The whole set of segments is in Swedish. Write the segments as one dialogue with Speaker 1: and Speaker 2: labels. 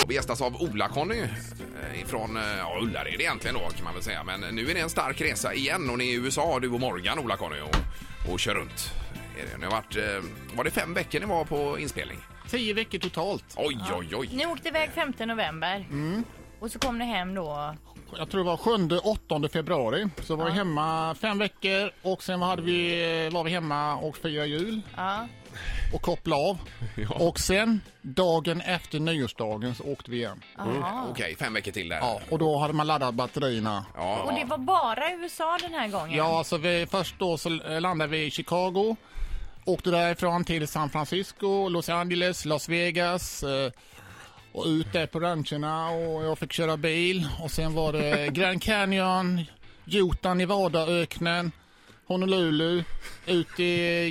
Speaker 1: idag gästas av Ola-Conny eh, ifrån eh, ja, Ullared egentligen då kan man väl säga. Men nu är det en stark resa igen och ni är i USA du och Morgan Ola-Conny och, och kör runt. Är det- Ni har varit, eh, var det fem veckor ni var på inspelning?
Speaker 2: Tio veckor totalt.
Speaker 1: Oj, oj, oj.
Speaker 3: Ni åkte iväg 5 november.
Speaker 2: Mm.
Speaker 3: Och så kom ni hem då.
Speaker 2: Jag tror det var 7-8 februari. Så var vi hemma fem veckor och sen hade vi, var vi hemma och firade jul
Speaker 3: Ja.
Speaker 2: och kopplade av. Och sen dagen efter nyårsdagen så åkte vi igen.
Speaker 3: Aha.
Speaker 1: Mm. Okej, fem veckor till där.
Speaker 2: Ja, och då hade man laddat batterierna.
Speaker 1: Ja.
Speaker 3: Och det var bara USA den här gången?
Speaker 2: Ja, så vi, först då så eh, landade vi i Chicago. Åkte därifrån till San Francisco, Los Angeles, Las Vegas. eh, Och ut där på rancherna och jag fick köra bil. Och sen var det Grand Canyon, Utah, Nevadaöknen, Honolulu. Ut i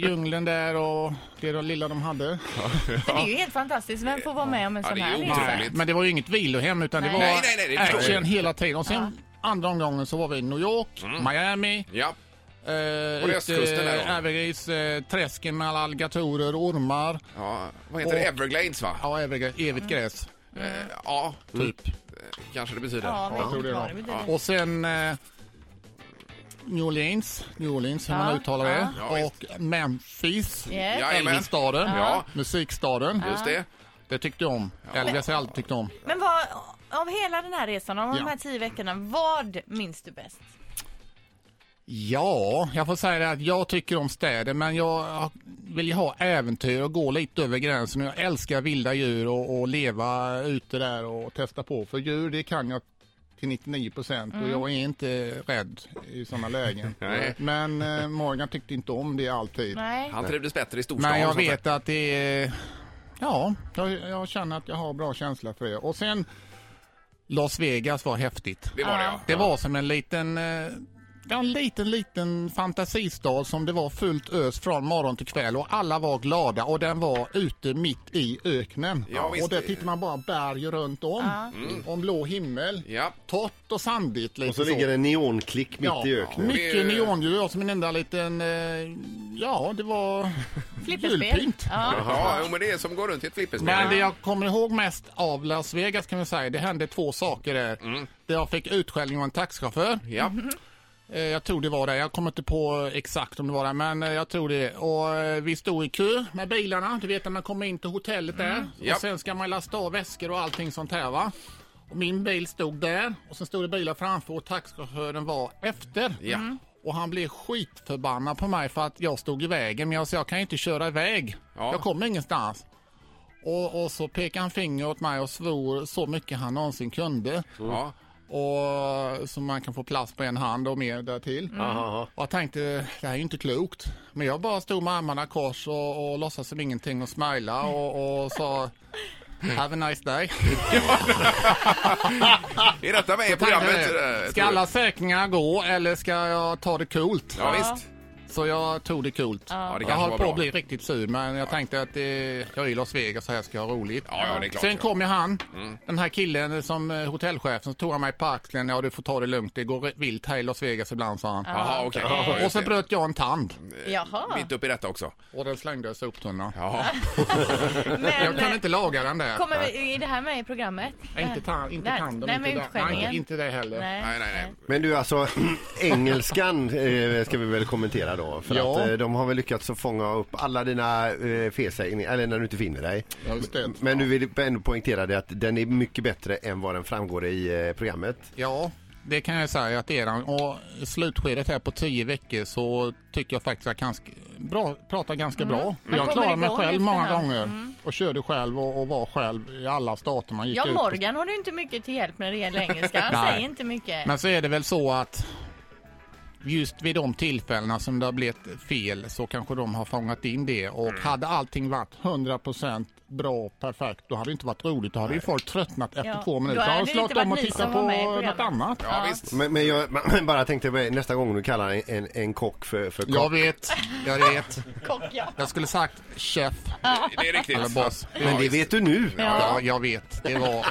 Speaker 2: djungeln där och det var lilla de hade.
Speaker 3: Det är ju helt fantastiskt. Vem får vara med om en
Speaker 1: Ja,
Speaker 3: sån
Speaker 1: det är
Speaker 3: här
Speaker 1: otroligt.
Speaker 3: resa?
Speaker 1: Härligt.
Speaker 2: Men det var ju inget vilohem utan det
Speaker 3: Nej.
Speaker 2: var
Speaker 1: Nej, nej, nej, det förstår
Speaker 2: action
Speaker 1: jag.
Speaker 2: hela tiden. Och sen andra omgången så var vi i New York,
Speaker 1: Mm.
Speaker 2: Miami.
Speaker 1: Ja.
Speaker 2: Eh,
Speaker 1: På östkusten där då?
Speaker 2: Everglades, eh, träsken med alla alligatorer och ormar.
Speaker 1: ja, vad heter det?
Speaker 2: Och-
Speaker 1: Everglades va?
Speaker 2: Ja, Everglades,
Speaker 3: Mm.
Speaker 2: evigt gräs.
Speaker 1: Eh, Ja,
Speaker 2: Typ.
Speaker 1: eh, kanske det betyder.
Speaker 3: Ja,
Speaker 2: jag tror
Speaker 3: men
Speaker 2: det
Speaker 3: vad
Speaker 2: då.
Speaker 3: det betyder.
Speaker 2: Och sen eh, New Orleans, New Orleans hur
Speaker 3: Ja,
Speaker 2: man uttalar det.
Speaker 1: ja. Ja,
Speaker 2: och Memphis,
Speaker 3: Yes.
Speaker 1: Jajamän.
Speaker 2: Elvis-staden,
Speaker 1: Ja.
Speaker 2: musikstaden.
Speaker 1: Just det.
Speaker 2: Det tyckte jag om. Elvis har jag alltid tyckt om.
Speaker 3: Men vad, av hela den här resan, av de
Speaker 2: Ja.
Speaker 3: här tio veckorna, vad minns du bäst?
Speaker 2: Ja, jag får säga det att jag tycker om städer men jag vill ju ha äventyr och gå lite över gränsen. Jag älskar vilda djur och, och leva ute där och testa på. För djur det kan jag till 99 procent och jag är inte rädd i sådana lägen.
Speaker 1: Mm. Nej.
Speaker 2: men eh, Morgan tyckte inte om det alltid.
Speaker 3: Nej.
Speaker 1: Han trivdes bättre i storstan.
Speaker 2: Men jag
Speaker 1: så att
Speaker 2: vet att det är... Ja, jag, jag känner att jag har bra känsla för det. Och sen Las Vegas var häftigt.
Speaker 1: Det var det ja.
Speaker 3: Ja.
Speaker 2: Det var som en liten, eh, ja, en liten, liten fantasistad som det var fullt ös från morgon till kväll och alla var glada och den var ute mitt i öknen.
Speaker 1: Ja, visst. Mm.
Speaker 2: och där tittar man bara berg runt om, om blå himmel,
Speaker 1: Ja.
Speaker 2: torrt och sandigt. Lite
Speaker 4: Och så ligger det en neonklick mitt
Speaker 2: Ja,
Speaker 4: i öknen.
Speaker 1: Det är-
Speaker 2: Mycket neonljus, jag som en enda liten, eh, ja det var
Speaker 3: Flipperspel? Ja.
Speaker 1: Ja, jo, men det är som går runt i ett flipperspel.
Speaker 2: Men det jag kommer ihåg mest av Las Vegas kan vi säga, det hände två saker där.
Speaker 1: Mm.
Speaker 2: Där jag fick utskällning av en taxichaufför.
Speaker 1: Ja,
Speaker 2: Eh, Jag tror det var det. Jag kommer inte på exakt om det var det, men eh, jag tror det. Och eh, vi stod i kö med bilarna. Du vet när man kommer in till hotellet där.
Speaker 1: Ja.
Speaker 2: Och sen ska man lasta av väskor och allting sånt här va. Och min bil stod där och sen stod det bilar framför och taxichauffören var efter.
Speaker 1: Ja. Mm.
Speaker 2: Och han blev skitförbannad på mig för att jag stod i vägen. Men jag sa jag kan ju inte köra iväg.
Speaker 1: Ja.
Speaker 2: Jag kommer ingenstans. Och, och så pekade han finger åt mig och svor så mycket han någonsin kunde
Speaker 1: ja.
Speaker 2: och som man kan få plats på en hand och mer därtill.
Speaker 1: Mm.
Speaker 2: Och jag tänkte, det här är ju inte klokt. Men jag bara stod med armarna i kors och, och låtsas som ingenting och smila och, och sa Have a nice day.
Speaker 1: Är detta med i programmet? eh,
Speaker 2: Ska
Speaker 1: tror
Speaker 2: alla säkringar gå eller ska jag ta det coolt?
Speaker 1: du? Ja, visst.
Speaker 2: Så jag tog det coolt.
Speaker 1: Ja, det
Speaker 2: jag
Speaker 1: kanske
Speaker 2: höll
Speaker 1: var
Speaker 2: på
Speaker 1: bra.
Speaker 2: att bli riktigt sur men jag tänkte att eh, jag är i Las Vegas så här ska jag ha roligt.
Speaker 1: Ja, ja, Mm. det är klart.
Speaker 2: Sen kom ju han, den här killen som eh, hotellchefen, så tog han mig på axeln. Ja, du får ta det lugnt. Det går vilt här i Las Vegas ibland, sa han.
Speaker 1: Jaha, okej. Ja,
Speaker 2: Och
Speaker 1: just
Speaker 2: så
Speaker 1: det.
Speaker 2: bröt jag en tand
Speaker 3: Jaha.
Speaker 1: Mitt upp i detta också.
Speaker 2: och den slängde jag i soptunnan.
Speaker 1: Ja.
Speaker 2: Jag kan
Speaker 3: Men
Speaker 2: inte laga den där.
Speaker 3: kommer vi, är det här med i programmet?
Speaker 2: Nej, Inte, tan- inte
Speaker 3: Nej,
Speaker 2: tanden.
Speaker 3: nej,
Speaker 2: inte, där-
Speaker 3: men
Speaker 2: nej,
Speaker 3: utskällningen.
Speaker 2: inte, inte det heller.
Speaker 1: Nej, nej, nej.
Speaker 4: Men du, alltså engelskan eh, ska vi väl kommentera då. För
Speaker 2: Ja.
Speaker 4: att eh, de har väl lyckats att fånga upp alla dina eh, felsägningar, eller när du inte finner dig.
Speaker 2: Ja, just det.
Speaker 4: Men du vill ändå poängtera det att den är mycket bättre än vad den framgår i eh, programmet.
Speaker 2: Ja, det kan jag säga att det är den. Och i slutskedet här på tio veckor så tycker jag faktiskt att jag kan sk- bra, prata ganska bra.
Speaker 3: Mm. kommer
Speaker 2: Jag klarade mig
Speaker 3: igång
Speaker 2: själv många
Speaker 3: efterhand.
Speaker 2: gånger och körde själv och, och var själv i alla stater man gick
Speaker 3: Ja,
Speaker 2: ut på.
Speaker 3: Morgan har du inte mycket till hjälp när det gäller engelska. Han
Speaker 2: Nej.
Speaker 3: säger inte mycket.
Speaker 2: Men så är det väl så att just vid de tillfällena som det har blivit fel så kanske de har fångat in det och hade allting varit 100% bra perfekt då hade det inte varit roligt. Då hade ju folk tröttnat efter
Speaker 3: Ja.
Speaker 2: två
Speaker 3: Då
Speaker 2: minuter. Då
Speaker 3: hade
Speaker 2: hade
Speaker 3: det
Speaker 2: de
Speaker 3: inte
Speaker 2: slagit
Speaker 3: varit
Speaker 2: om och
Speaker 3: ni som
Speaker 2: tittat på
Speaker 3: var med i
Speaker 2: något
Speaker 3: programmet.
Speaker 2: annat.
Speaker 1: Ja, visst.
Speaker 4: Men, men jag bara tänkte på nästa gång du kallar en, en, en kock för, för kock.
Speaker 2: Jag vet, jag vet.
Speaker 3: Kock, ja.
Speaker 2: Jag skulle sagt chef.
Speaker 1: Det är
Speaker 2: Eller
Speaker 1: riktigt.
Speaker 2: boss.
Speaker 4: Men det vet du nu.
Speaker 2: Ja, jag vet. Det var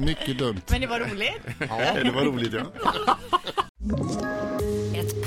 Speaker 2: mycket dumt.
Speaker 3: Men det var roligt.
Speaker 2: Ja.
Speaker 4: Det var roligt ja.
Speaker 5: Ett